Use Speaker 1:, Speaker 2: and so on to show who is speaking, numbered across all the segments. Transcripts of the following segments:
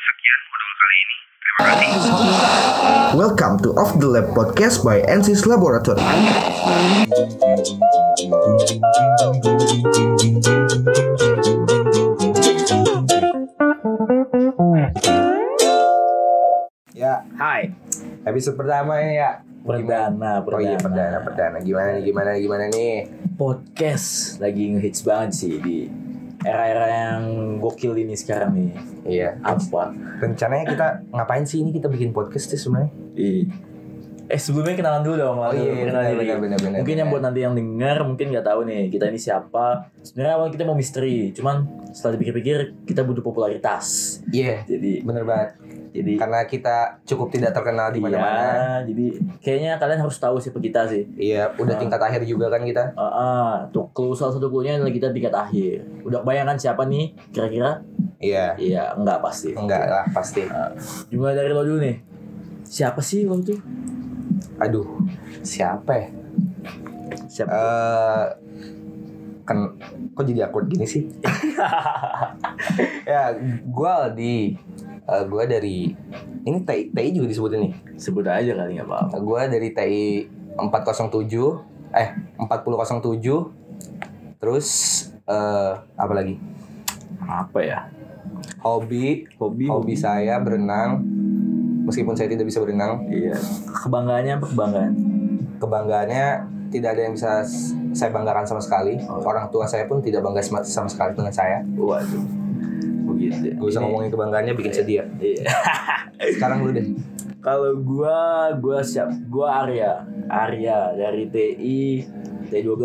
Speaker 1: Sekian modul kali ini. Terima kasih.
Speaker 2: Welcome to Off the Lab podcast by NC's Laboratory. Ya,
Speaker 3: Hai.
Speaker 2: episode pertama ya.
Speaker 3: Perdana,
Speaker 2: Oh
Speaker 3: perdana.
Speaker 2: iya perdana perdana gimana nih gimana nih gimana nih?
Speaker 3: Podcast lagi ngehits banget sih di era-era yang gokil ini sekarang nih.
Speaker 2: Iya.
Speaker 3: Apa?
Speaker 2: Rencananya kita ngapain sih ini kita bikin podcast sih sebenarnya?
Speaker 3: Ih. Eh sebelumnya kenalan dulu dong, kenalan dulu, perkenalan diri.
Speaker 2: benar.
Speaker 3: iya, Mungkin yang buat nanti yang dengar mungkin nggak tahu nih kita ini siapa. Sebenarnya awal kita mau misteri, cuman setelah dipikir-pikir kita butuh popularitas.
Speaker 2: Iya,
Speaker 3: Jadi
Speaker 2: bener banget.
Speaker 3: jadi
Speaker 2: Karena kita cukup tidak terkenal di mana-mana.
Speaker 3: Iya, jadi kayaknya kalian harus tahu siapa kita sih.
Speaker 2: Iya, udah
Speaker 3: Ah.
Speaker 2: tingkat akhir juga kan kita.
Speaker 3: Ah, ah, tuh clue salah satu clue-nya adalah kita tingkat akhir. Udah bayangkan siapa nih kira-kira?
Speaker 2: Iya.
Speaker 3: Iya, enggak pasti.
Speaker 2: Enggak lah pasti.
Speaker 3: Dimulai dari lo dulu nih. Siapa sih lo tuh?
Speaker 2: Aduh, siapa ya? Eh
Speaker 3: Siapa?
Speaker 2: kan kok jadi akun gini sih? ya, gua di eh, gua dari ini TI, TI juga disebutin nih.
Speaker 3: Sebut aja kali nggak apa-apa.
Speaker 2: Gue dari TI 407 eh 4007 terus eh apa lagi?
Speaker 3: Apa ya?
Speaker 2: Hobi
Speaker 3: Hobi.
Speaker 2: hobi saya berenang. Meskipun saya tidak bisa berenang,
Speaker 3: Iya. Kebanggaannya apa kebanggaan?
Speaker 2: kebanggaannya tidak ada yang bisa s- saya banggakan sama sekali.
Speaker 3: Oh.
Speaker 2: Orang tua saya pun tidak bangga sama, sama sekali dengan saya.
Speaker 3: Waduh. Begitu.
Speaker 2: Gue usah
Speaker 3: Ini-
Speaker 2: ngomongin kebanggaannya bikin sedih ya.
Speaker 3: Iya.
Speaker 2: Sekarang lu deh.
Speaker 3: Kalau gua, gua siap. Gua Arya. Arya dari TI T12.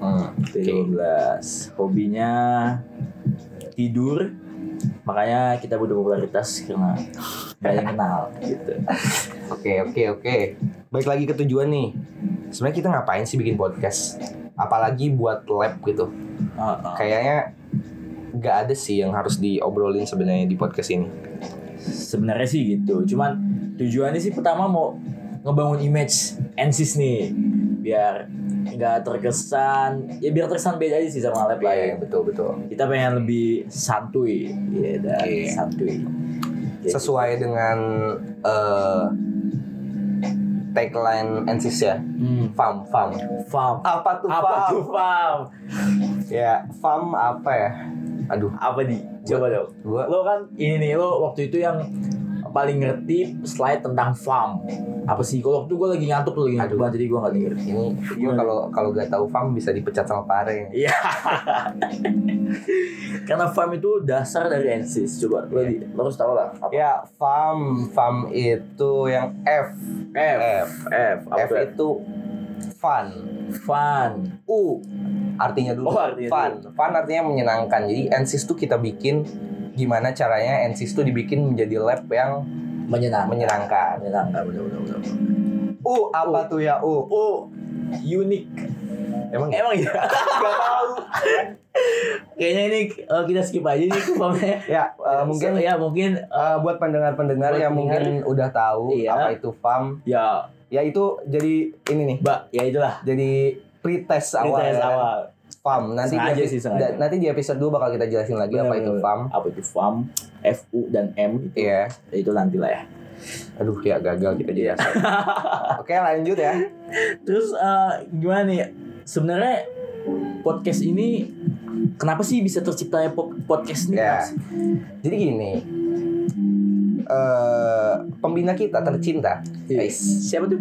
Speaker 3: Hmm. T12. Hobinya tidur. Makanya kita butuh popularitas karena banyak yang kenal gitu.
Speaker 2: Oke oke oke. Baik lagi ke tujuan nih. Sebenarnya kita ngapain sih bikin podcast? Apalagi buat lab gitu.
Speaker 3: Ah, ah.
Speaker 2: Kayaknya nggak ada sih yang harus diobrolin sebenarnya di podcast ini.
Speaker 3: sebenarnya sih gitu cuman tujuannya sih pertama mau ngebangun image ensis nih biar nggak terkesan ya biar terkesan beda aja sih sama lab lain
Speaker 2: Iya, betul betul.
Speaker 3: kita pengen lebih santuy ya dan
Speaker 2: Oke.
Speaker 3: santuy Kayak
Speaker 2: Sesuai dengan eh, tagline NCIS ya.
Speaker 3: gitu. hmm,
Speaker 2: Farm farm.
Speaker 3: farm
Speaker 2: Apa tuh
Speaker 3: apa
Speaker 2: farm?
Speaker 3: tuh farm
Speaker 2: Ya, farm apa ya? Aduh,
Speaker 3: apa di coba dong
Speaker 2: gua
Speaker 3: lo kan ini nih lo waktu itu yang paling ngerti slide tentang farm apa sih kalau waktu gue lagi ngantuk lo lagi ngantuk
Speaker 2: Aduh.
Speaker 3: banget jadi gue nggak denger
Speaker 2: ini gua
Speaker 3: Gimana?
Speaker 2: kalau kalau gak tahu farm bisa dipecat sama pare.
Speaker 3: Iya. Karena farm itu dasar dari ensis. Coba
Speaker 2: Iya.
Speaker 3: lo, di- lo harus tahu lah. Apa?
Speaker 2: Ya, farm farm itu yang F.
Speaker 3: F,
Speaker 2: F.
Speaker 3: F,
Speaker 2: F
Speaker 3: apa?
Speaker 2: itu fun.
Speaker 3: Fun.
Speaker 2: U artinya dulu
Speaker 3: Oh, artinya
Speaker 2: fun. Fun artinya menyenangkan. Jadi NCIS tuh kita bikin gimana caranya NCIS tuh dibikin menjadi lab yang
Speaker 3: Menyenangkan.
Speaker 2: menyenangkan.
Speaker 3: Menyenangkan. Udah, udah, udah. udah.
Speaker 2: U apa tuh ya U?
Speaker 3: Oh, unik.
Speaker 2: Emang
Speaker 3: Emang ya? Gak tahu. Kayaknya ini eh, kita skip aja nih farmnya.
Speaker 2: ya eh, mungkin
Speaker 3: So, ya mungkin eh,
Speaker 2: eh, buat pendengar-pendengar
Speaker 3: Buat
Speaker 2: yang mungkin udah tahu
Speaker 3: Iya.
Speaker 2: apa itu farm
Speaker 3: ya
Speaker 2: ya itu jadi ini nih
Speaker 3: mbak ya itulah
Speaker 2: jadi pretest awal,
Speaker 3: kita tes
Speaker 2: ya.
Speaker 3: awal
Speaker 2: farm nanti di
Speaker 3: Sengaja
Speaker 2: epi-
Speaker 3: sih, sengaja.
Speaker 2: da- nanti di episode 2 bakal kita jelasin lagi
Speaker 3: Benar,
Speaker 2: apa itu
Speaker 3: benar,
Speaker 2: farm
Speaker 3: apa itu farm F U dan M itu
Speaker 2: Iya,
Speaker 3: ya, itu nanti lah ya
Speaker 2: aduh ya gagal kita jadi asal. Oke lanjut ya.
Speaker 3: Terus eh, gimana nih? Sebenarnya podcast ini kenapa sih bisa terciptanya po- podcast ini?
Speaker 2: Ya. Jadi gini, eh pembina kita tercinta,
Speaker 3: Eh, Siapa tuh?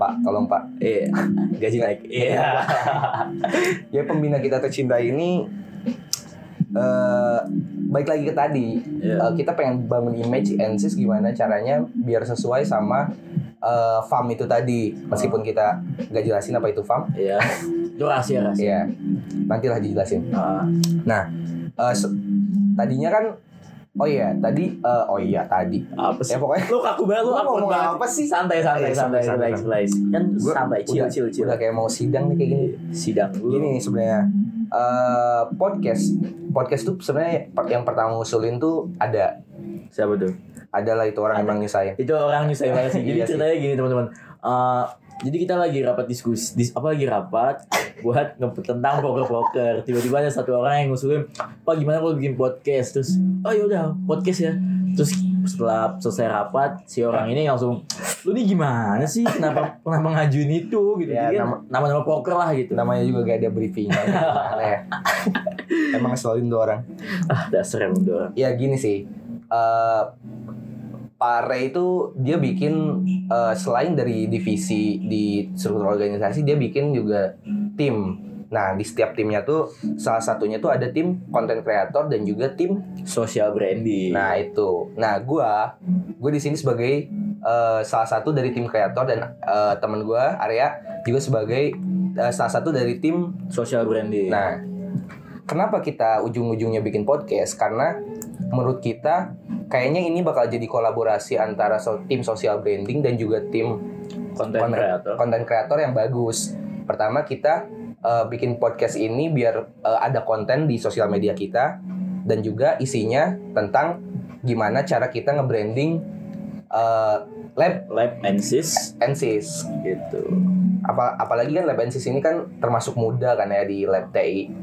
Speaker 2: Pak, tolong Pak.
Speaker 3: Eh, gaji naik. Iya.
Speaker 2: Ya pembina kita tercinta ini eh baik lagi ke tadi,
Speaker 3: Iya.
Speaker 2: Eh, kita pengen bangun image Ensis gimana caranya biar sesuai sama eh, farm itu tadi meskipun kita gak jelasin apa itu farm
Speaker 3: Iya. Itu rahasia rahasia.
Speaker 2: ya nantilah dijelasin
Speaker 3: Ah,
Speaker 2: Eh, se- tadinya kan oh iya tadi eh, oh iya tadi
Speaker 3: Ah, apa
Speaker 2: ya
Speaker 3: sih?
Speaker 2: pokoknya
Speaker 3: Lo kaku banget lo
Speaker 2: Lo
Speaker 3: kaku
Speaker 2: ngomong
Speaker 3: banget.
Speaker 2: apa sih?
Speaker 3: Santai
Speaker 2: Eh,
Speaker 3: santai santai
Speaker 2: santai, santai,
Speaker 3: santai relax. Kan
Speaker 2: Gua
Speaker 3: santai chill
Speaker 2: udah-
Speaker 3: chill chill. Iya.
Speaker 2: udah kayak mau sidang nih kayak gini
Speaker 3: Sidang dulu.
Speaker 2: gini nih sebenarnya eh, podcast podcast tuh sebenarnya per- yang pertama ngusulin tuh ada
Speaker 3: Siapa tuh?
Speaker 2: adalah itu orang
Speaker 3: Ada.
Speaker 2: emang nyusahin
Speaker 3: itu orang nyusahin banget sih. Jadi
Speaker 2: Iya sih.
Speaker 3: ceritanya gini teman-teman. Eh, jadi kita lagi rapat diskusi, dis, apa lagi rapat buat nge tentang poker-poker. Tiba-tiba ada satu orang yang ngusulin, "Pak, gimana kalau bikin podcast?" Terus, "Oh ya udah, podcast ya." terus setelah selesai rapat si orang ini langsung lu nih gimana sih kenapa kenapa ngajuin itu gitu
Speaker 2: Ya,
Speaker 3: Jadi kan
Speaker 2: nama-
Speaker 3: nama-nama poker lah gitu
Speaker 2: namanya juga gak ada briefingnya gimana ya emang ngeselin tuh orang
Speaker 3: ah dasar emang tuh orang
Speaker 2: ya gini sih eh Pare itu dia bikin eh, selain dari divisi di struktur organisasi dia bikin juga tim nah di setiap timnya tuh salah satunya tuh ada tim konten kreator dan juga tim
Speaker 3: social branding
Speaker 2: Nah itu, nah gua gue di sini sebagai eh, salah satu dari tim kreator dan eh, teman gua Arya juga sebagai eh, salah satu dari tim.
Speaker 3: social branding
Speaker 2: Nah, kenapa kita ujung-ujungnya bikin podcast? Karena menurut kita kayaknya ini bakal jadi kolaborasi antara so- tim social branding dan juga tim
Speaker 3: konten
Speaker 2: konten-
Speaker 3: kreator
Speaker 2: konten kreator yang bagus. Pertama kita eh, bikin podcast ini biar eh, ada konten di sosial media kita dan juga isinya tentang gimana cara kita nge-branding eh, lab
Speaker 3: lab and sis
Speaker 2: Ensis.
Speaker 3: gitu
Speaker 2: Apa- apalagi kan lab Ensis ini kan termasuk muda kan ya di lab TI.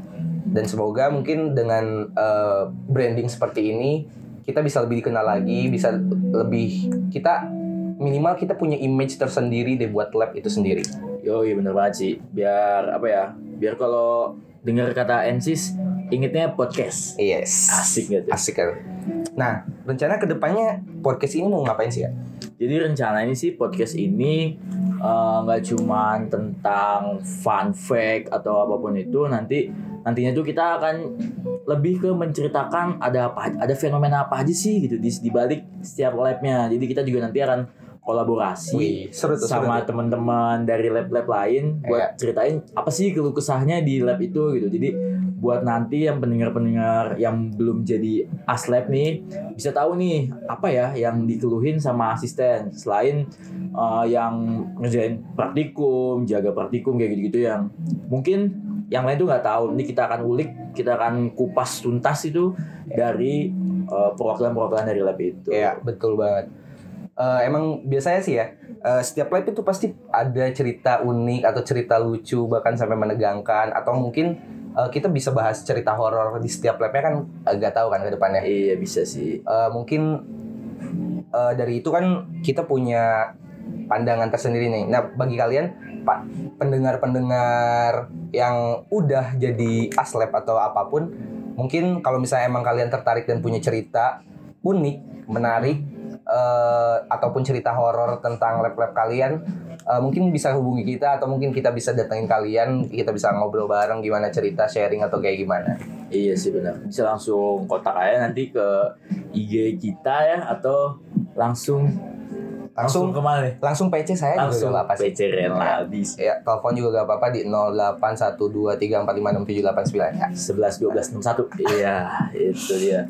Speaker 2: Dan semoga mungkin dengan eh, branding seperti ini kita bisa lebih dikenal lagi, bisa lebih kita minimal kita punya image tersendiri deh buat lab itu sendiri.
Speaker 3: yo iya bener banget sih biar apa ya biar kalau dengar kata ensis ingetnya podcast
Speaker 2: Yes.
Speaker 3: asik gitu
Speaker 2: Asik kan. Nah, rencana kedepannya podcast ini mau ngapain sih ya?
Speaker 3: Jadi rencana ini sih podcast ini eh, nggak cuman tentang fun fact atau apapun itu nanti nantinya tuh kita akan lebih ke menceritakan ada apa ada fenomena apa aja sih gitu di, di balik setiap labnya. Jadi kita juga nanti akan kolaborasi
Speaker 2: seru tuh.
Speaker 3: sama
Speaker 2: seru tuh.
Speaker 3: teman-teman dari lab-lab lain
Speaker 2: Iya.
Speaker 3: buat ceritain apa sih keluh kesahnya di lab itu gitu. Jadi buat nanti yang pendengar-pendengar yang belum jadi aslab nih bisa tahu nih apa ya yang dikeluhin sama asisten selain eh, yang ngerjain praktikum, jaga praktikum kayak gitu-gitu yang mungkin yang lain tuh nggak tahu. Ini kita akan ulik, kita akan kupas tuntas itu dari eh, perwakilan-perwakilan dari lab itu.
Speaker 2: Iya, betul banget. Eh, emang biasanya sih ya, eh, setiap live itu pasti ada cerita unik atau cerita lucu bahkan sampai menegangkan atau mungkin eh, kita bisa bahas cerita horor di setiap live-nya kan agak tahu kan ke depannya.
Speaker 3: Iya bisa sih.
Speaker 2: Eh, mungkin eh, dari itu kan kita punya pandangan tersendiri nih. Nah, bagi kalian pa- pendengar-pendengar yang udah jadi aslep atau apapun, mungkin kalau misalnya emang kalian tertarik dan punya cerita unik, menarik eh, ataupun cerita horor tentang lab-lab kalian, eh, mungkin bisa hubungi kita atau mungkin kita bisa datengin kalian, kita bisa ngobrol bareng gimana cerita sharing atau kayak gimana.
Speaker 3: Iya sih benar. Bisa langsung kontak aja nanti ke IG kita ya atau langsung
Speaker 2: Langsung Eh,
Speaker 3: kemana nih?
Speaker 2: langsung PC saya
Speaker 3: Langsung
Speaker 2: juga gak apa sih.
Speaker 3: PC Renaldi
Speaker 2: Ya, telepon juga gak apa-apa di 0812345678 ya.
Speaker 3: 11 12 61. Iya, itu dia.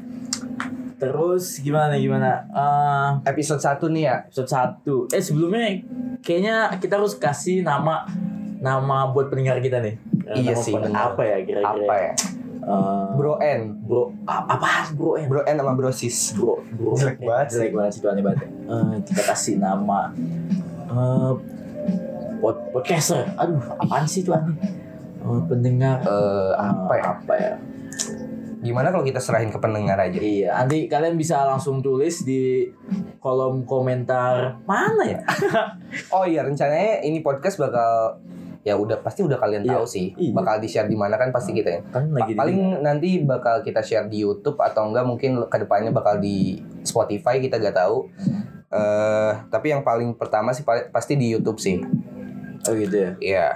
Speaker 3: Terus gimana gimana? Eh
Speaker 2: Episode 1 nih ya.
Speaker 3: episode 1. Eh sebelumnya kayaknya kita harus kasih nama nama buat pendengar kita nih. Eh,
Speaker 2: Iya
Speaker 3: nama
Speaker 2: sih,
Speaker 3: pen-
Speaker 2: benar.
Speaker 3: Apa ya kira-kira?
Speaker 2: Apa ya?
Speaker 3: Eh,
Speaker 2: Bro N.
Speaker 3: bro a- apaan bro ya?
Speaker 2: Bro N sama Bro Sis.
Speaker 3: bro, bro.
Speaker 2: Jelek banget ya. sih.
Speaker 3: jelek banget sih tuh aneh banget Eh, kita kasih nama eh pod podcaster aduh apaan sih tuh aneh Eh, pendengar
Speaker 2: Eh,
Speaker 3: Eh,
Speaker 2: apa ya?
Speaker 3: apa ya
Speaker 2: Gimana kalau kita serahin ke pendengar aja?
Speaker 3: iya nanti kalian bisa langsung tulis di kolom komentar mana ya
Speaker 2: Oh iya, rencananya ini podcast bakal ya udah pasti udah kalian
Speaker 3: Iya.
Speaker 2: tahu sih.
Speaker 3: Iya.
Speaker 2: Bakal di-share di mana kan pasti kita ya.
Speaker 3: kan
Speaker 2: Pa-
Speaker 3: lagi di-
Speaker 2: paling nanti bakal kita share di YouTube atau enggak mungkin kedepannya bakal di Spotify kita gak tahu. Eh, tapi yang paling pertama sih pa- pasti di YouTube sih.
Speaker 3: oh gitu ya
Speaker 2: Iya.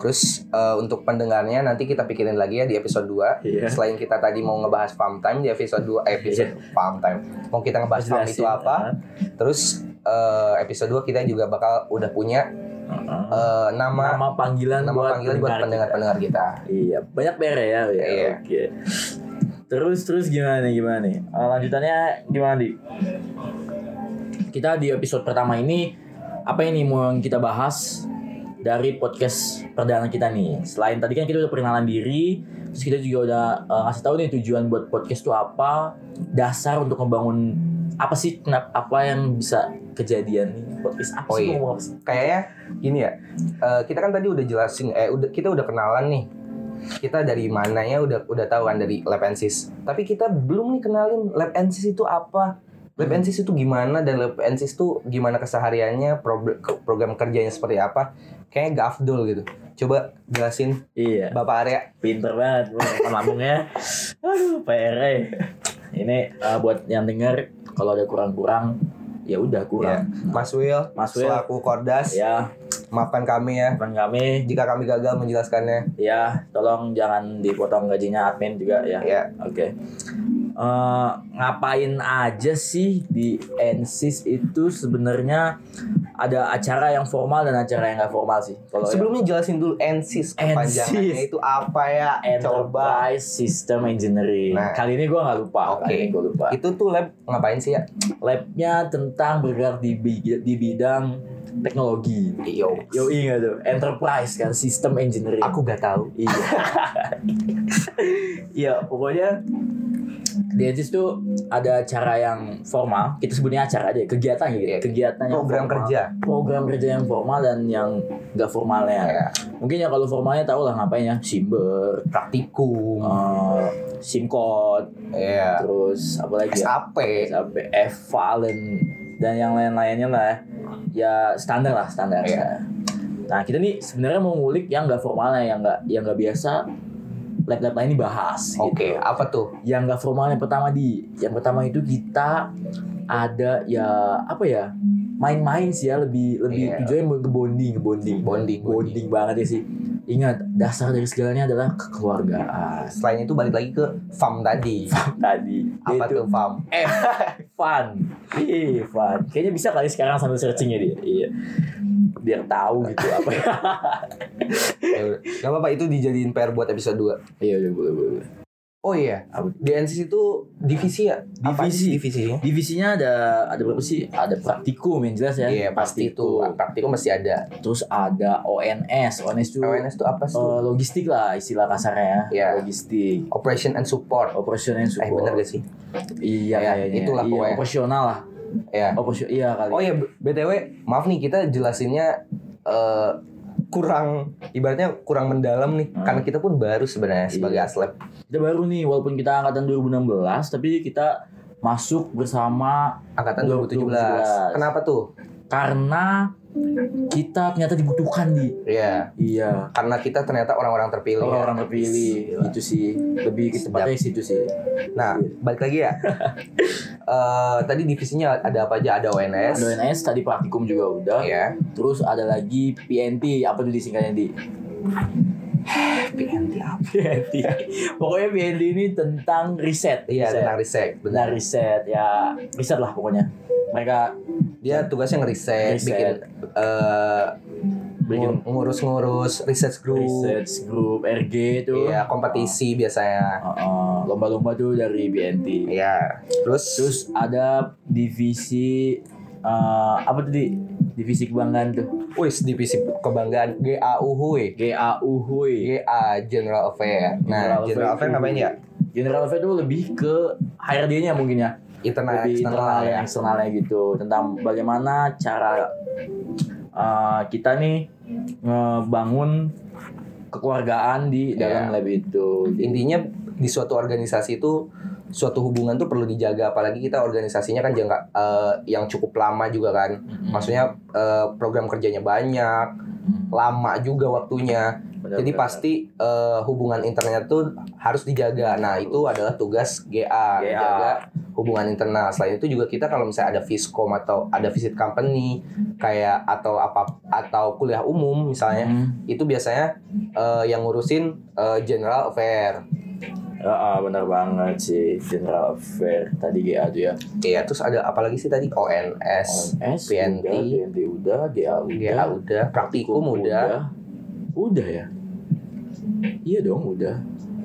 Speaker 2: Terus eh, untuk pendengarnya nanti kita pikirin lagi ya di episode 2.
Speaker 3: Iya.
Speaker 2: Selain kita tadi mau ngebahas farm time di episode 2 episode farm time. Mau kita ngebahas farm itu
Speaker 3: Jelasin.
Speaker 2: apa? Terus eh, episode 2 kita juga bakal udah punya
Speaker 3: Heeh.
Speaker 2: eh, nama
Speaker 3: nama panggilan
Speaker 2: nama
Speaker 3: buat
Speaker 2: panggilan buat pendengar-pendengar kita.
Speaker 3: Iya, banyak PR ya. ya.
Speaker 2: Iya.
Speaker 3: Oke. Terus terus gimana nih, gimana nih? Eh, lanjutannya gimana di? Kita di episode pertama ini apa ini mau yang kita bahas dari podcast perdana kita nih. Selain tadi kan kita udah perkenalan diri, terus kita juga udah eh, ngasih tahu nih tujuan buat podcast itu apa, dasar untuk membangun apa sih, kenapa apa yang bisa kejadian nih podcast apa
Speaker 2: Oh
Speaker 3: sih
Speaker 2: iya.
Speaker 3: ngomong apa sih?
Speaker 2: Kayaknya gini ya. eh, kita kan tadi udah jelasin eh udah kita udah kenalan nih. Kita dari mananya udah udah tahu kan dari Lab Ensis. Tapi kita belum nih kenalin Lab Ensis itu apa. Lab NSIS itu gimana dan Lab NSIS itu gimana kesehariannya, prob- ke- program kerjanya seperti apa? Kayaknya gak afdol gitu. Coba jelasin
Speaker 3: Iya.
Speaker 2: Bapak Arya.
Speaker 3: Pinter banget bro, makan lambungnya. ya. Aduh, PRE. Ini eh, buat yang denger kalau ada kurang-kurang ya udah kurang.
Speaker 2: Mas Will,
Speaker 3: Mas Wil.
Speaker 2: selaku Kordas,
Speaker 3: Ya,
Speaker 2: maafkan kami ya
Speaker 3: bukan kami.
Speaker 2: jika kami gagal menjelaskannya.
Speaker 3: Ya, tolong jangan dipotong gajinya admin juga ya.
Speaker 2: Ya,
Speaker 3: Oke. Eh, ngapain aja sih di NSIS itu sebenarnya ada acara yang formal dan acara yang nggak formal sih. Kalau yang-
Speaker 2: sebelumnya jelasin dulu NSIS kepanjangannya
Speaker 3: NSIS.
Speaker 2: itu apa ya? Coba.
Speaker 3: Enterprise System Engineering.
Speaker 2: Nah.
Speaker 3: Kali ini gua nggak lupa.
Speaker 2: Oke.
Speaker 3: Kali ini gue lupa.
Speaker 2: Itu tuh lab ngapain sih ya?
Speaker 3: Labnya tentang bergerak di, bi- di bidang teknologi.
Speaker 2: Yo.
Speaker 3: Yo ingat tuh, enterprise kan, sistem engineering.
Speaker 2: Aku gak tahu.
Speaker 3: iya. Iya, pokoknya di Edis tuh ada acara yang formal, kita sebutnya acara aja, kegiatan gitu.
Speaker 2: Iya.
Speaker 3: ya. Kegiatan yang
Speaker 2: Program
Speaker 3: formal.
Speaker 2: kerja.
Speaker 3: Program kerja yang formal dan yang nggak formalnya.
Speaker 2: Ya,
Speaker 3: Mungkin ya kalau formalnya tau lah ngapain ya, simber,
Speaker 2: praktikum.
Speaker 3: eh, simkot,
Speaker 2: Ya.
Speaker 3: terus apa lagi ya?
Speaker 2: SAP.
Speaker 3: sampai Valen dan yang lain-lainnya lah ya standar lah standar
Speaker 2: Iya.
Speaker 3: standar. nah kita nih sebenarnya mau ngulik yang nggak formalnya yang nggak yang nggak biasa lab-lab lain dibahas
Speaker 2: Oke,
Speaker 3: gitu
Speaker 2: apa tuh?
Speaker 3: yang nggak formal yang pertama di yang pertama itu kita ada ya apa ya main-main sih ya lebih lebih
Speaker 2: Iya.
Speaker 3: tujuannya mau ke bonding ke bonding
Speaker 2: Bonding, bonding.
Speaker 3: bonding banget ya sih ingat dasar dari segalanya adalah kekeluargaan
Speaker 2: Selain itu balik lagi ke FAM tadi.
Speaker 3: tadi
Speaker 2: Apa
Speaker 3: Yaitu-
Speaker 2: tuh FAM?
Speaker 3: Eh, fun. Ih, fun. Kayaknya bisa kali sekarang sambil searching ya dia. Iya. Biar tahu gitu apa ya.
Speaker 2: Ya udah. Gak apa-apa itu dijadiin PR buat episode 2.
Speaker 3: Iya, udah boleh, boleh. boleh.
Speaker 2: Oh iya,
Speaker 3: Apa?
Speaker 2: di NCC itu divisi ya? Apa sih
Speaker 3: Divisi.
Speaker 2: divisinya?
Speaker 3: Divisinya ada ada berapa sih? Ada praktikum yang jelas ya.
Speaker 2: Iya pasti itu
Speaker 3: Praktikum.
Speaker 2: praktikum pasti ada.
Speaker 3: Terus ada ONS. ONS itu
Speaker 2: PWNS itu apa sih?
Speaker 3: eh, logistik lah istilah kasarnya ya.
Speaker 2: Iya.
Speaker 3: Logistik.
Speaker 2: Operation and support.
Speaker 3: Operation and
Speaker 2: Eh
Speaker 3: support.
Speaker 2: bener gak sih?
Speaker 3: Iya,
Speaker 2: Ya,
Speaker 3: kayaknya.
Speaker 2: itulah
Speaker 3: iya,
Speaker 2: pokoknya.
Speaker 3: Operasional lah.
Speaker 2: Ya.
Speaker 3: Operasi- iya kali.
Speaker 2: Oh ya btw maaf nih kita jelasinnya eh, kurang ibaratnya kurang mendalam nih
Speaker 3: Hmm.
Speaker 2: karena kita pun baru sebenarnya sebagai
Speaker 3: Iya.
Speaker 2: aslep.
Speaker 3: Kita baru nih walaupun kita angkatan 2016 tapi kita masuk bersama
Speaker 2: angkatan 2017.
Speaker 3: 2017.
Speaker 2: Kenapa tuh?
Speaker 3: karena kita ternyata dibutuhkan di
Speaker 2: Ya
Speaker 3: iya
Speaker 2: karena kita ternyata orang-orang terpilih. ya.
Speaker 3: orang-orang terpilih itu sih lebih ke
Speaker 2: Sedap.
Speaker 3: tempatnya situ sih
Speaker 2: Nah balik lagi ya. Eh, tadi divisinya ada apa aja? Ada ONS.
Speaker 3: ada NS tadi praktikum juga udah
Speaker 2: Ya.
Speaker 3: terus ada lagi PNT apa tuh disingkatnya di
Speaker 2: PNT apa?
Speaker 3: PNT pokoknya PNT ini tentang riset
Speaker 2: Iya
Speaker 3: riset.
Speaker 2: tentang riset. Benar.
Speaker 3: Tentang riset ya riset lah pokoknya mereka
Speaker 2: Dia tugasnya ngeriset,
Speaker 3: Riset.
Speaker 2: bikin eh,
Speaker 3: bikin
Speaker 2: ngur- ngurus-ngurus research group.
Speaker 3: riset group RG itu
Speaker 2: Iya, kompetisi biasanya.
Speaker 3: Uh, uh, lomba-lomba tuh dari BNT
Speaker 2: Iya. Terus,
Speaker 3: Terus ada divisi eh, apa tadi? Divisi kebanggaan tuh.
Speaker 2: wis divisi kebanggaan GAU Hui.
Speaker 3: GAU Hui.
Speaker 2: GA General Affair. Nah,
Speaker 3: Hmm, General
Speaker 2: General Affair
Speaker 3: Affair
Speaker 2: ngapain ya?
Speaker 3: General Affair itu lebih ke HRD-nya mungkin ya.
Speaker 2: Internal
Speaker 3: Lebih
Speaker 2: external
Speaker 3: internal
Speaker 2: ya.
Speaker 3: yang eksternalnya gitu tentang bagaimana cara eh, kita nih ngebangun kekeluargaan di dalam
Speaker 2: Iya.
Speaker 3: lab itu. Jadi,
Speaker 2: Intinya di suatu organisasi itu suatu hubungan tuh perlu dijaga apalagi kita organisasinya kan jangka eh, yang cukup lama juga kan.
Speaker 3: mm,
Speaker 2: Maksudnya eh, program kerjanya banyak,
Speaker 3: mm,
Speaker 2: lama juga waktunya.
Speaker 3: benar,
Speaker 2: Jadi
Speaker 3: benar.
Speaker 2: pasti eh, hubungan internet tuh harus dijaga. Nah itu adalah tugas GA,
Speaker 3: GA.
Speaker 2: menjaga hubungan internal. Selain itu juga kita kalau misalnya ada viskom atau ada visit company kayak atau apa atau kuliah umum misalnya
Speaker 3: Mm,
Speaker 2: itu biasanya eh, yang ngurusin eh, general affair.
Speaker 3: ah, ah, benar banget sih General Affair tadi GA tuh ya.
Speaker 2: Iya terus ada apa lagi sih tadi ONS,
Speaker 3: ONS,
Speaker 2: PNT.
Speaker 3: udah, PNT udah, GA udah,
Speaker 2: GA Ya udah, praktikum udah.
Speaker 3: udah, Udah ya, iya dong udah.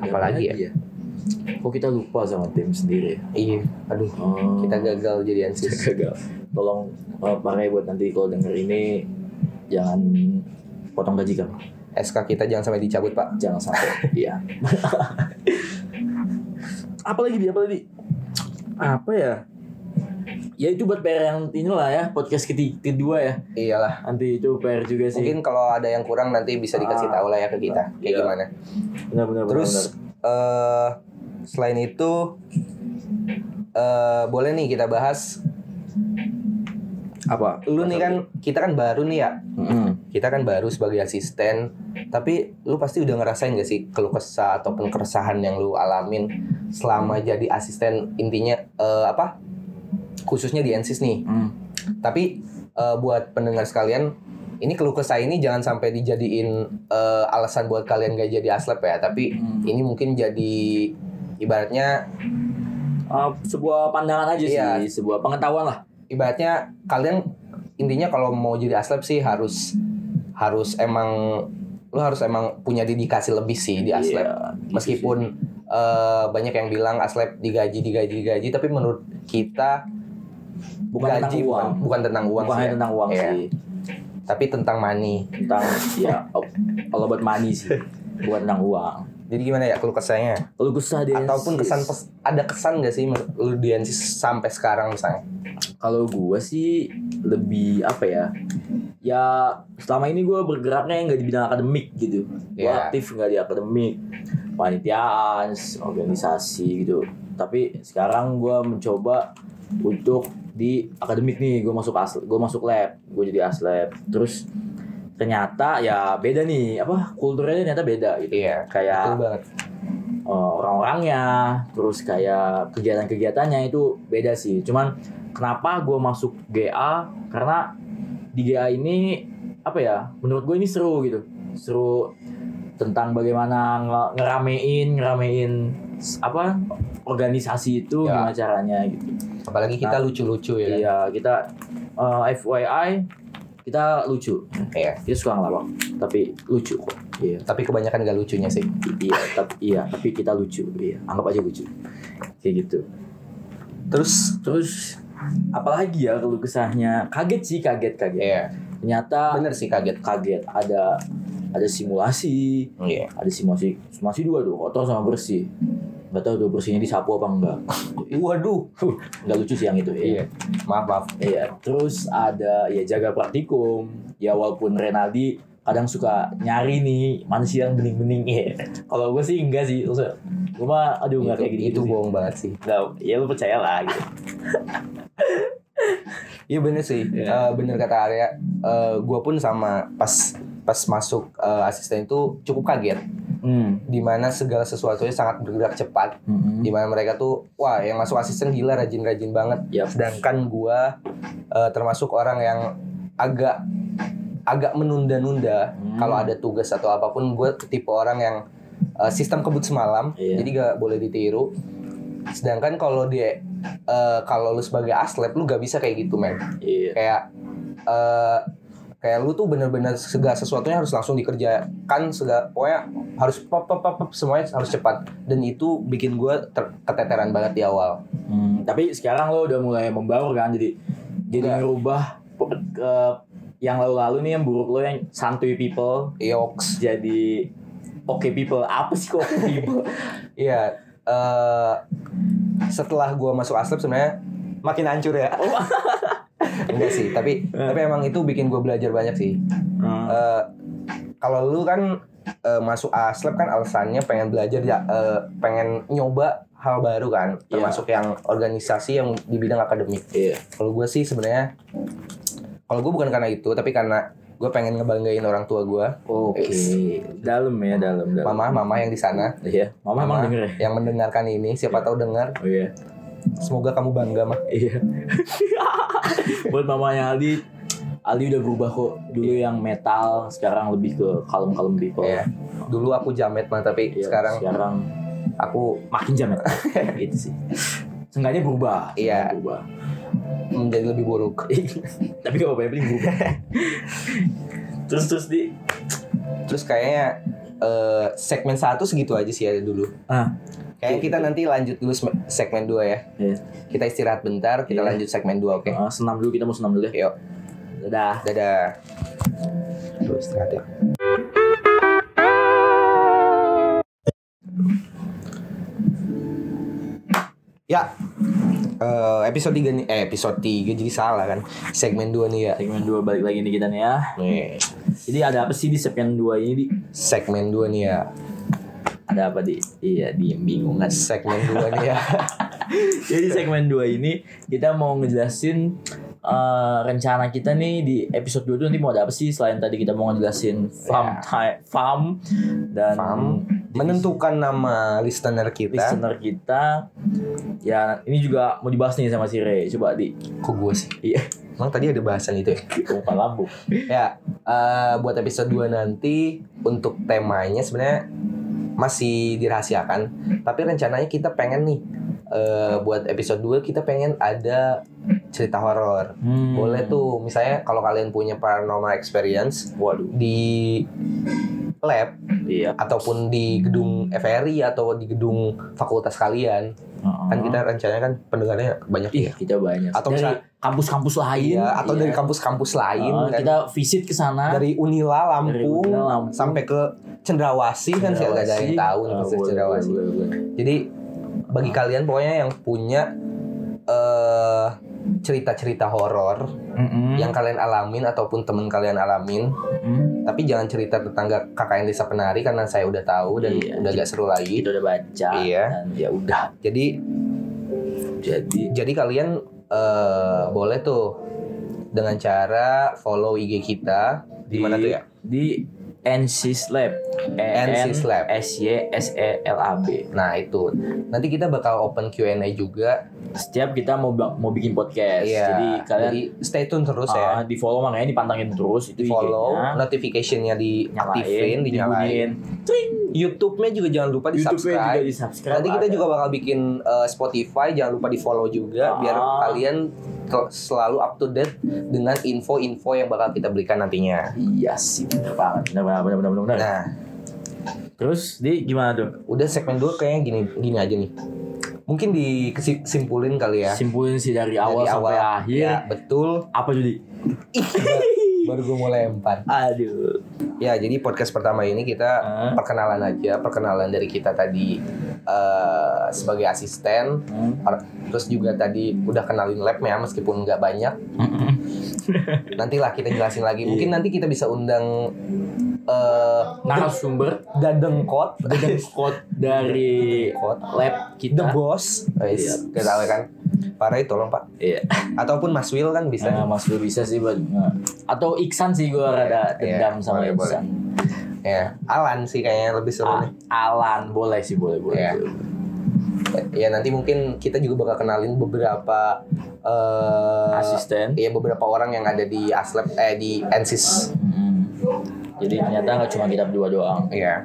Speaker 3: Ada
Speaker 2: Apa lagi ya?
Speaker 3: Kok kita lupa sama tim sendiri? ya?
Speaker 2: Iya, aduh
Speaker 3: Oh,
Speaker 2: kita gagal jadi
Speaker 3: kita
Speaker 2: ansis.
Speaker 3: gagal. Tolong eh, pakai buat nanti kalau denger ini jangan potong gaji kamu,
Speaker 2: SK kita jangan sampai dicabut pak.
Speaker 3: jangan sampai. Iya. apalagi dia apalagi apa ya? Ya itu buat PR yang inilah ya podcast keti- kedua ya.
Speaker 2: Iyalah.
Speaker 3: Nanti itu PR juga Iya sih.
Speaker 2: Mungkin kalau ada yang kurang nanti bisa dikasih
Speaker 3: Ah.
Speaker 2: tahu lah ya ke kita kayak
Speaker 3: Iya.
Speaker 2: gimana.
Speaker 3: benar benar
Speaker 2: Terus eh selain itu eh, boleh nih kita bahas.
Speaker 3: apa
Speaker 2: Lu nih kan kita kan baru nih ya.
Speaker 3: Mm-mm.
Speaker 2: Kita kan baru sebagai asisten, tapi lu pasti udah ngerasain gak sih keluh kesah ataupun keresahan yang lu alamin selama jadi asisten intinya eh, apa? Khususnya di NSIS nih.
Speaker 3: Mm.
Speaker 2: Tapi eh, buat pendengar sekalian, ini keluh kesah ini jangan sampai dijadiin eh, alasan buat kalian gak jadi aslep ya. Tapi
Speaker 3: Mm.
Speaker 2: ini mungkin jadi ibaratnya
Speaker 3: Uh, sebuah pandangan aja
Speaker 2: Iya.
Speaker 3: sih sebuah pengetahuan lah
Speaker 2: ibaratnya kalian intinya kalau mau jadi aslep sih harus harus emang lu harus emang punya dedikasi lebih sih di aslep.
Speaker 3: Iya, gitu
Speaker 2: Meskipun eh, banyak yang bilang aslep digaji digaji digaji, tapi menurut kita
Speaker 3: sih. bukan
Speaker 2: gaji
Speaker 3: tentang uang
Speaker 2: bukan bukan tentang uang
Speaker 3: bukan
Speaker 2: sih,
Speaker 3: hanya
Speaker 2: ya.
Speaker 3: tentang uang
Speaker 2: Iya.
Speaker 3: sih
Speaker 2: tapi tentang money.
Speaker 3: tentang ya all about money sih bukan tentang uang
Speaker 2: Jadi gimana ya keluh kesahnya?
Speaker 3: Lu kesah di
Speaker 2: ataupun
Speaker 3: NSIS.
Speaker 2: kesan pes- ada kesan gak sih menurut lu di NC sampai sekarang misalnya
Speaker 3: kalau gue sih lebih apa ya ya selama ini gue bergeraknya nggak di bidang akademik gitu gue
Speaker 2: Iya.
Speaker 3: aktif nggak di akademik panitiaan organisasi gitu tapi sekarang gue mencoba untuk di akademik nih gue masuk as gue masuk lab gue jadi aslab terus ternyata ya beda nih apa kulturnya ternyata beda gitu
Speaker 2: iya
Speaker 3: kayak
Speaker 2: betul banget
Speaker 3: eh, orang-orangnya terus kayak kegiatan-kegiatannya itu beda sih cuman kenapa gue masuk GA karena di GA ini apa ya menurut gue ini seru gitu seru tentang bagaimana nge- ngeramein ngeramein s- apa organisasi itu
Speaker 2: Ya.
Speaker 3: gimana caranya gitu
Speaker 2: apalagi kita lucu-lucu ya kan?
Speaker 3: iya kita eh, FYI kita lucu
Speaker 2: Iya.
Speaker 3: kita suka ngelawak tapi lucu kok iya
Speaker 2: tapi kebanyakan gak lucunya sih
Speaker 3: iya tapi iya tapi kita lucu iya anggap aja lucu kayak gitu
Speaker 2: terus
Speaker 3: terus apalagi ya keluh kesahnya kaget sih kaget kaget
Speaker 2: iya
Speaker 3: ternyata
Speaker 2: bener sih kaget
Speaker 3: kaget ada ada simulasi
Speaker 2: iya
Speaker 3: ada simulasi simulasi dua tuh kotor sama bersih nggak tahu tuh bersihnya disapu apa enggak
Speaker 2: waduh
Speaker 3: nggak lucu sih yang itu ya.
Speaker 2: iya maaf maaf
Speaker 3: Iya, terus ada ya jaga praktikum. Ya walaupun Renaldi kadang suka nyari nih mana sih yang bening-bening ya. Kalau gue sih enggak sih, maksudnya gue mah aduh
Speaker 2: itu,
Speaker 3: enggak kayak gitu.
Speaker 2: itu bohong banget sih
Speaker 3: ya lu percaya lah gitu.
Speaker 2: iya bener sih
Speaker 3: Iya.
Speaker 2: Eh, bener kata Arya Eh, gua pun sama pas pas masuk eh, asisten itu cukup kaget
Speaker 3: Hmm.
Speaker 2: dimana segala sesuatunya sangat bergerak cepat
Speaker 3: Mm-mm.
Speaker 2: dimana mereka tuh wah yang masuk asisten gila rajin-rajin banget
Speaker 3: Yap.
Speaker 2: sedangkan gua eh, termasuk orang yang agak agak menunda-nunda
Speaker 3: Hmm.
Speaker 2: kalau ada tugas atau apapun gue tipe orang yang eh, sistem kebut semalam
Speaker 3: Iya.
Speaker 2: jadi gak boleh ditiru sedangkan kalau dia eh, kalau lu sebagai aslep lu gak bisa kayak gitu men
Speaker 3: Iya.
Speaker 2: kayak eh kayak lu tuh bener-bener segala sesuatunya harus langsung dikerjakan segala pokoknya harus pop pop pop, pop, semuanya harus cepat dan itu bikin gue ter- keteteran banget di awal
Speaker 3: Hmm, tapi sekarang lo udah mulai membaur kan jadi jadi
Speaker 2: Enggak.
Speaker 3: ngerubah pe- ke yang lalu-lalu nih yang buruk lo yang santuy people
Speaker 2: yoks
Speaker 3: jadi oke people apa sih kok oke people
Speaker 2: iya eh setelah gue masuk aslep sebenarnya makin hancur ya
Speaker 3: Oh.
Speaker 2: enggak sih tapi tapi emang itu bikin gue belajar banyak sih
Speaker 3: Eh. Hmm.
Speaker 2: Eh, kalau lu kan eh, masuk aslep kan alasannya pengen belajar ya eh, pengen nyoba hal baru kan
Speaker 3: Iya.
Speaker 2: termasuk yang organisasi yang di bidang akademik
Speaker 3: iya
Speaker 2: kalau gue sih sebenarnya kalau gue bukan karena itu tapi karena gue pengen ngebanggain orang tua gue
Speaker 3: Oke, dalam ya, dalam dalam.
Speaker 2: mama mama yang di sana
Speaker 3: Iya, mama, emang denger ya.
Speaker 2: yang mendengarkan ini siapa tahu dengar
Speaker 3: Oh iya.
Speaker 2: semoga kamu bangga mah
Speaker 3: Iya. Buat mamanya Aldi, Aldi udah berubah kok. Dulu yang metal, sekarang lebih ke kalem-kalem people.
Speaker 2: Iya. dulu aku jamet mah tapi
Speaker 3: Oh. Iya,
Speaker 2: sekarang
Speaker 3: sekarang
Speaker 2: aku
Speaker 3: makin jamet. gitu sih. Seenggaknya berubah.
Speaker 2: Iya.
Speaker 3: seenggaknya Berubah.
Speaker 2: menjadi lebih buruk
Speaker 3: Tapi gak apa-apa, yang penting berubah. terus terus di
Speaker 2: terus kayaknya eh, segmen satu segitu aja sih ya dulu
Speaker 3: ah
Speaker 2: Kayaknya kita nanti lanjut dulu sem- segmen 2 ya.
Speaker 3: Iya.
Speaker 2: Kita istirahat bentar, kita
Speaker 3: Iya.
Speaker 2: lanjut segmen 2 oke.
Speaker 3: ah, senam dulu kita mau senam dulu ya.
Speaker 2: Yuk,
Speaker 3: Dadah.
Speaker 2: dadah. Lu istirahat ya. Ya. eh, episode 3 nih, eh episode 3 jadi salah kan. Segmen 2 nih ya.
Speaker 3: Segmen 2 balik lagi nih kita nih ya.
Speaker 2: Nih,
Speaker 3: Jadi ada apa sih di segmen 2 ini, Di?
Speaker 2: segmen 2 nih ya.
Speaker 3: Ada apa, Di? Iya, Di. Bingung kan.
Speaker 2: Segmen 2 nih ya.
Speaker 3: Jadi segmen 2 ini kita mau ngejelasin eh, rencana kita nih di episode 2 tuh nanti mau ada apa sih selain tadi kita mau ngejelasin farm
Speaker 2: Ya.
Speaker 3: time farm dan
Speaker 2: Farm.
Speaker 3: divisi
Speaker 2: menentukan nama listener kita
Speaker 3: listener kita ya ini juga mau dibahas nih sama si Ray coba di
Speaker 2: kok gue sih
Speaker 3: Iya.
Speaker 2: emang tadi ada bahasan itu ya
Speaker 3: umpan lambung
Speaker 2: ya eh, buat episode 2 nanti untuk temanya sebenarnya masih dirahasiakan tapi rencananya kita pengen nih eh, buat episode 2 kita pengen ada cerita horor
Speaker 3: Hmm.
Speaker 2: boleh tuh misalnya kalau kalian punya paranormal experience
Speaker 3: waduh
Speaker 2: di lab
Speaker 3: iya
Speaker 2: ataupun di gedung
Speaker 3: Hmm.
Speaker 2: FRI atau di gedung fakultas kalian kan kita
Speaker 3: Hmm.
Speaker 2: rencananya kan pendengarnya banyak
Speaker 3: Ih,
Speaker 2: ya
Speaker 3: kita banyak
Speaker 2: Atau
Speaker 3: dari
Speaker 2: misal-
Speaker 3: kampus-kampus lain
Speaker 2: Iya, atau
Speaker 3: iya.
Speaker 2: dari kampus-kampus lain
Speaker 3: Oh,
Speaker 2: kan.
Speaker 3: kita visit ke sana
Speaker 2: dari Unila
Speaker 3: Dari
Speaker 2: Lampung,
Speaker 3: Unila, Lampung.
Speaker 2: sampai ke Cendrawasih kan sih nggak ada yang tahu nih
Speaker 3: Ah,
Speaker 2: pasti
Speaker 3: boleh,
Speaker 2: Cendrawasih.
Speaker 3: boleh, Ah. boleh.
Speaker 2: Jadi bagi kalian pokoknya yang punya eh cerita-cerita horor
Speaker 3: Mm-mm.
Speaker 2: yang kalian alamin ataupun temen kalian alamin,
Speaker 3: Mm-mm.
Speaker 2: tapi jangan cerita tetangga kakak yang desa penari karena saya udah tahu dan
Speaker 3: Iya.
Speaker 2: udah gak seru lagi.
Speaker 3: kita udah baca
Speaker 2: Iya.
Speaker 3: dan ya udah
Speaker 2: Jadi
Speaker 3: jadi
Speaker 2: jadi kalian eh boleh tuh dengan cara follow IG kita di mana tuh ya?
Speaker 3: di NCS Lab E
Speaker 2: NCS Lab.
Speaker 3: S Y S E L A B
Speaker 2: Nah itu nanti kita bakal open Q&A juga.
Speaker 3: setiap kita mau ba- mau bikin podcast
Speaker 2: Iya.
Speaker 3: jadi kalian ah,
Speaker 2: Jadi stay tune terus ya.
Speaker 3: di follow makanya dipantangin terus
Speaker 2: Di
Speaker 3: itu
Speaker 2: follow,
Speaker 3: IG-nya.
Speaker 2: notificationnya
Speaker 3: nyalain
Speaker 2: diaktifin, dinyalain.
Speaker 3: dibunyiin Twing.
Speaker 2: YouTube-nya juga jangan lupa Kan di
Speaker 3: YouTube-nya juga
Speaker 2: subscribe.
Speaker 3: di subscribe
Speaker 2: Nanti kita juga bakal bikin eh, Spotify, jangan lupa di follow juga biar
Speaker 3: Ah.
Speaker 2: kalian tel- selalu up to date dengan info-info yang bakal kita berikan nantinya.
Speaker 3: iya sih bener banget bener banget bener bener bener, bener.
Speaker 2: Nah,
Speaker 3: terus di gimana tuh
Speaker 2: udah segmen 2 kayaknya gini gini aja nih. Mungkin disimpulin kali ya.
Speaker 3: simpulin sih dari awal,
Speaker 2: Dari
Speaker 3: sampai akhir
Speaker 2: Ya, betul.
Speaker 3: apa jadi
Speaker 2: Baru gue mau lempar.
Speaker 3: aduh
Speaker 2: Ya, jadi podcast pertama ini kita
Speaker 3: Hah?
Speaker 2: perkenalan aja perkenalan dari kita tadi eh, sebagai asisten
Speaker 3: Hmm.
Speaker 2: Par- terus juga tadi udah kenalin labnya meskipun nggak banyak nantilah kita jelasin lagi
Speaker 3: Iya.
Speaker 2: mungkin nanti kita bisa undang eh
Speaker 3: narasumber
Speaker 2: dadengkot
Speaker 3: code dari
Speaker 2: Dadengkot.
Speaker 3: lab
Speaker 2: the
Speaker 3: kita
Speaker 2: boss
Speaker 3: Iya.
Speaker 2: Wis, kita tahu kan Pak Ray tolong Pak
Speaker 3: iya
Speaker 2: ataupun Mas Will kan bisa
Speaker 3: Nah, Mas Bro bisa sih buat atau Iksan sih gue rada
Speaker 2: Iya,
Speaker 3: dendam sama
Speaker 2: boleh,
Speaker 3: Iksan
Speaker 2: ya Alan sih kayaknya lebih seru
Speaker 3: Ah,
Speaker 2: nih
Speaker 3: Alan boleh sih boleh boleh
Speaker 2: Iya.
Speaker 3: boleh.
Speaker 2: ya nanti mungkin kita juga bakal kenalin beberapa eh
Speaker 3: asisten
Speaker 2: ya beberapa orang yang ada di aslep eh di ensis
Speaker 3: Mm-mm. Hmm. jadi ternyata nggak cuma kita berdua doang
Speaker 2: ya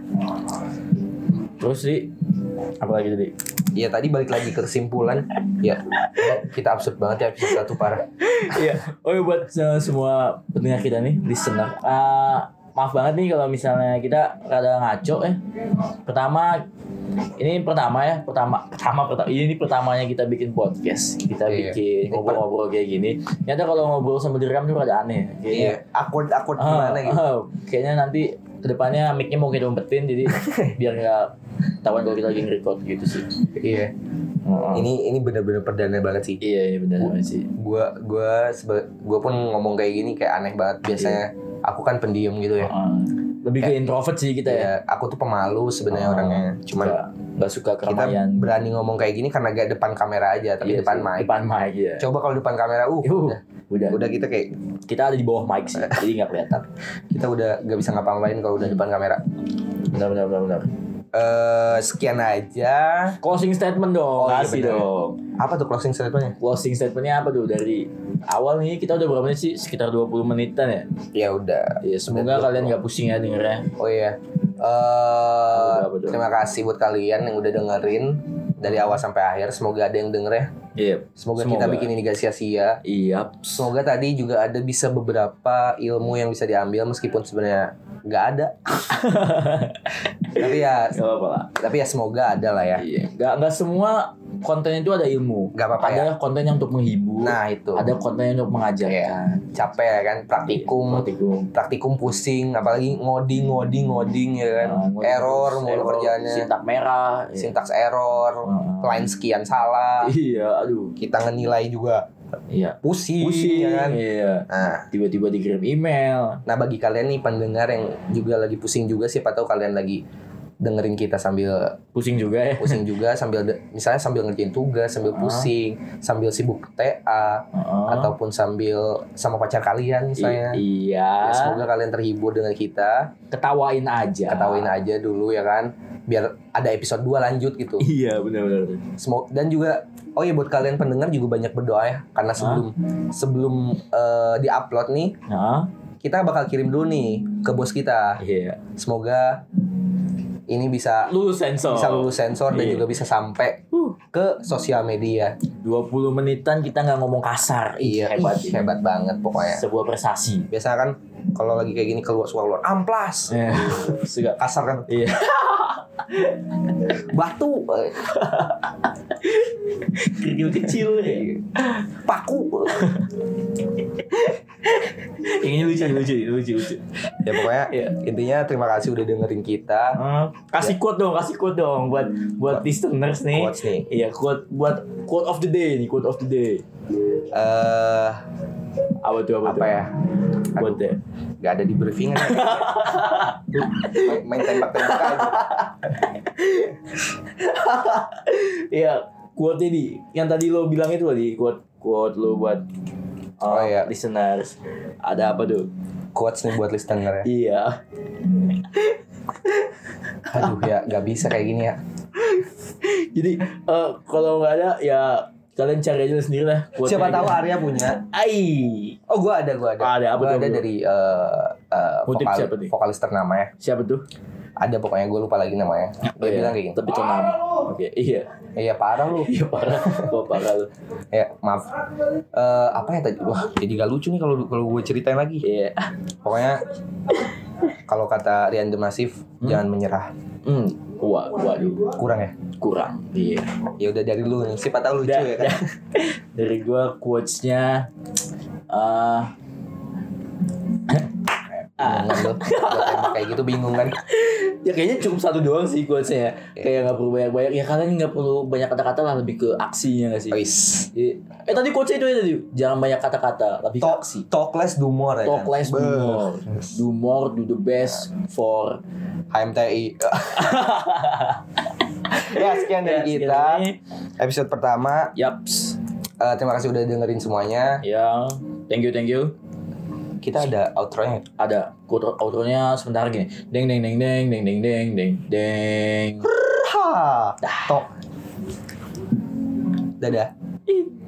Speaker 3: terus sih apa lagi tadi
Speaker 2: ya tadi balik lagi ke kesimpulan ya kita absurd banget ya episode satu parah
Speaker 3: Iya. Oh iya buat se- semua pendengar kita nih, listener. Eh, maaf banget nih kalau misalnya kita rada ngaco ya. Pertama ini pertama ya, pertama pertama pertama ini pertamanya kita bikin podcast. Kita
Speaker 2: Iya.
Speaker 3: bikin ngobrol-ngobrol kayak gini. Nyata kalau ngobrol sambil direkam tuh rada aneh. Kayaknya
Speaker 2: iya awkward awkward
Speaker 3: Ah,
Speaker 2: gimana gitu
Speaker 3: ah, kayaknya nanti kedepannya mic-nya mau kita umpetin jadi biar nggak ketahuan kalau kita lagi record gitu sih.
Speaker 2: iya
Speaker 3: Heeh.
Speaker 2: ini ini bener-bener perdana banget sih
Speaker 3: Iya, iya benar sih.
Speaker 2: gua gua sebe- gua pun ngomong kayak gini kayak aneh banget biasanya aku kan pendiam gitu ya
Speaker 3: Heeh. Ah, lebih ke introvert sih kita ya.
Speaker 2: ya aku tuh pemalu sebenarnya
Speaker 3: Ah,
Speaker 2: orangnya cuman
Speaker 3: nggak nggak suka
Speaker 2: kita
Speaker 3: keramaian
Speaker 2: berani ngomong kayak gini karena gak depan kamera aja tapi
Speaker 3: gitu. Iya
Speaker 2: depan
Speaker 3: sih,
Speaker 2: mic
Speaker 3: depan mic ya
Speaker 2: coba kalau depan kamera uh
Speaker 3: Yuh,
Speaker 2: udah
Speaker 3: udah.
Speaker 2: udah kita kayak
Speaker 3: kita ada di bawah mic sih jadi nggak kelihatan
Speaker 2: kita udah gak bisa ngapa-ngapain kalau udah depan kamera
Speaker 3: benar benar benar benar
Speaker 2: eh sekian aja
Speaker 3: closing statement dong
Speaker 2: Oh, iya,
Speaker 3: kasih
Speaker 2: benar.
Speaker 3: dong
Speaker 2: apa tuh closing statementnya
Speaker 3: closing statementnya apa tuh dari awal nih kita udah berapa menit sih sekitar 20 menitan ya
Speaker 2: ya udah
Speaker 3: ya semoga
Speaker 2: Udah
Speaker 3: kalian nggak pusing ya dengernya
Speaker 2: oh iya
Speaker 3: Udah,
Speaker 2: eh
Speaker 3: udah.
Speaker 2: terima kasih buat kalian yang udah dengerin dari awal sampai akhir semoga ada yang denger ya
Speaker 3: iya
Speaker 2: semoga,
Speaker 3: Semoga.
Speaker 2: kita bikin ini gak sia-sia
Speaker 3: iya
Speaker 2: semoga tadi juga ada bisa beberapa ilmu yang bisa diambil meskipun sebenarnya nggak ada tapi ya
Speaker 3: nggak apa-apa lah
Speaker 2: tapi ya semoga ada lah ya
Speaker 3: iya nggak nggak semua konten itu ada ilmu
Speaker 2: nggak apa-apa ya
Speaker 3: ada konten yang untuk menghibur
Speaker 2: nah itu
Speaker 3: ada konten yang untuk mengajarkan
Speaker 2: capek ya kan praktikum
Speaker 3: praktikum
Speaker 2: praktikum pusing apalagi ngoding ngoding ngoding ya kan
Speaker 3: Nah, ngoding
Speaker 2: error
Speaker 3: terus,
Speaker 2: mulu
Speaker 3: error, Ah.
Speaker 2: kerjaannya Ah.
Speaker 3: sintak merah iya.
Speaker 2: sintaks error
Speaker 3: Heeh.
Speaker 2: line sekian salah
Speaker 3: iya aduh
Speaker 2: kita ngenilai juga
Speaker 3: iya
Speaker 2: pusing, ya kan
Speaker 3: iya
Speaker 2: nah
Speaker 3: tiba-tiba dikirim email
Speaker 2: nah bagi kalian nih pendengar yang juga lagi pusing juga siapa tahu kalian lagi dengerin kita sambil
Speaker 3: pusing juga ya
Speaker 2: pusing juga sambil de- misalnya sambil ngerjain tugas sambil
Speaker 3: Ah.
Speaker 2: pusing sambil sibuk TA
Speaker 3: Heeh.
Speaker 2: ataupun sambil sama pacar kalian
Speaker 3: I-
Speaker 2: misalnya
Speaker 3: iya
Speaker 2: Ya, semoga kalian terhibur dengan kita
Speaker 3: ketawain aja
Speaker 2: ketawain aja dulu ya kan biar ada episode 2 lanjut gitu
Speaker 3: iya benar-benar
Speaker 2: Semo- dan juga oh ya buat kalian pendengar juga banyak berdoa ya karena sebelum sebelum eh, di-upload nih
Speaker 3: Heeh.
Speaker 2: kita bakal kirim dulu nih ke bos kita.
Speaker 3: iya
Speaker 2: Semoga ini bisa
Speaker 3: lulus sensor
Speaker 2: bisa lulus sensor dan
Speaker 3: Iya.
Speaker 2: juga bisa sampai
Speaker 3: Huh.
Speaker 2: ke sosial media.
Speaker 3: 20 menitan kita nggak ngomong kasar Ih,
Speaker 2: Iya, hebat
Speaker 3: hebat
Speaker 2: ya.
Speaker 3: ini.
Speaker 2: hebat banget pokoknya.
Speaker 3: sebuah prestasi
Speaker 2: Biasa kan kalau lagi kayak gini keluar suka keluar amplas.
Speaker 3: Iya. Suka.
Speaker 2: Kasar kan
Speaker 3: iya
Speaker 2: batu, eh,
Speaker 3: kerikil kecil ya.
Speaker 2: paku. eh.
Speaker 3: yang ini lucu lucu lucu lucu
Speaker 2: ya pokoknya
Speaker 3: Iya.
Speaker 2: intinya terima kasih udah dengerin kita.
Speaker 3: Heeh. Eh, kasih quote dong kasih quote dong buat buat listeners nih
Speaker 2: Quotes nih.
Speaker 3: Iya, quote buat quote of the day nih, quote of the day.
Speaker 2: Eh
Speaker 3: Apa tuh apa,
Speaker 2: apa
Speaker 3: tuh?
Speaker 2: ya?
Speaker 3: Quote ya.
Speaker 2: Gak ada di briefing main, main tembak-tembak aja.
Speaker 3: Iya, quote di yang tadi lo bilang itu tadi quote quote lo buat uh,
Speaker 2: Oh, iya.
Speaker 3: listeners. Ada apa tuh?
Speaker 2: Quotes nih buat listener ya.
Speaker 3: Iya.
Speaker 2: Aduh ya, gak bisa kayak gini ya.
Speaker 3: Jadi eh, kalau nggak ada ya kalian cari aja sendiri lah. quote-nya
Speaker 2: Siapa tahu
Speaker 3: gitu.
Speaker 2: Arya punya.
Speaker 3: Ai.
Speaker 2: Oh, gua ada, gua ada.
Speaker 3: Ah, Ada, apa
Speaker 2: Gua ada
Speaker 3: tuh, apa tuh?
Speaker 2: dari eh, eh,
Speaker 3: Kutip
Speaker 2: vokal-
Speaker 3: siapa nih?
Speaker 2: vokalis ternama ya.
Speaker 3: Siapa tuh?
Speaker 2: Ada pokoknya gua lupa lagi namanya. Dia
Speaker 3: Oh, iya.
Speaker 2: bilang kayak gitu. gini.
Speaker 3: Tapi itu nama. Oke, iya.
Speaker 2: Iya parah lu.
Speaker 3: Iya parah. Gua parah lu.
Speaker 2: Ya maaf. Eh, apa ya tadi? Wah jadi gak lucu nih kalau kalau gue ceritain lagi.
Speaker 3: Iya.
Speaker 2: Pokoknya kalau kata Rian The Massive, jangan menyerah.
Speaker 3: Hmm, wah, waduh,
Speaker 2: Kurang ya?
Speaker 3: kurang. Iya.
Speaker 2: Ya udah dari lu nih. Siapa tahu lucu
Speaker 3: Udah,
Speaker 2: ya kan?
Speaker 3: udah. Dari gua quotes-nya eh
Speaker 2: Bingungan kan lu. Gua tembak kayak gitu bingung kan?
Speaker 3: ya kayaknya cukup satu doang
Speaker 2: Iya.
Speaker 3: sih quotes-nya ya. Kayak nggak perlu banyak-banyak. Ya kalian nggak perlu banyak kata-kata lah lebih ke aksinya nggak sih?
Speaker 2: Wis.
Speaker 3: Jadi- Eh tadi quotes-nya itu ya tadi. Jangan banyak kata-kata, lebih ke
Speaker 2: Talk,
Speaker 3: aksi.
Speaker 2: talk less do more ya
Speaker 3: Talk
Speaker 2: kan?
Speaker 3: less, do
Speaker 2: Beuh.
Speaker 3: more. Do more, do the best for
Speaker 2: HMTI. ya sekian dari
Speaker 3: Ya,
Speaker 2: kita
Speaker 3: sekiranya.
Speaker 2: episode pertama.
Speaker 3: Yaps.
Speaker 2: Eh, terima kasih udah dengerin semuanya.
Speaker 3: Ya, thank you, thank you.
Speaker 2: Kita ada outro-nya.
Speaker 3: Ada outro outro-nya sebentar gini. Deng deng deng deng deng deng deng deng deng.
Speaker 2: Ha, tok. Dadah.
Speaker 3: Ih.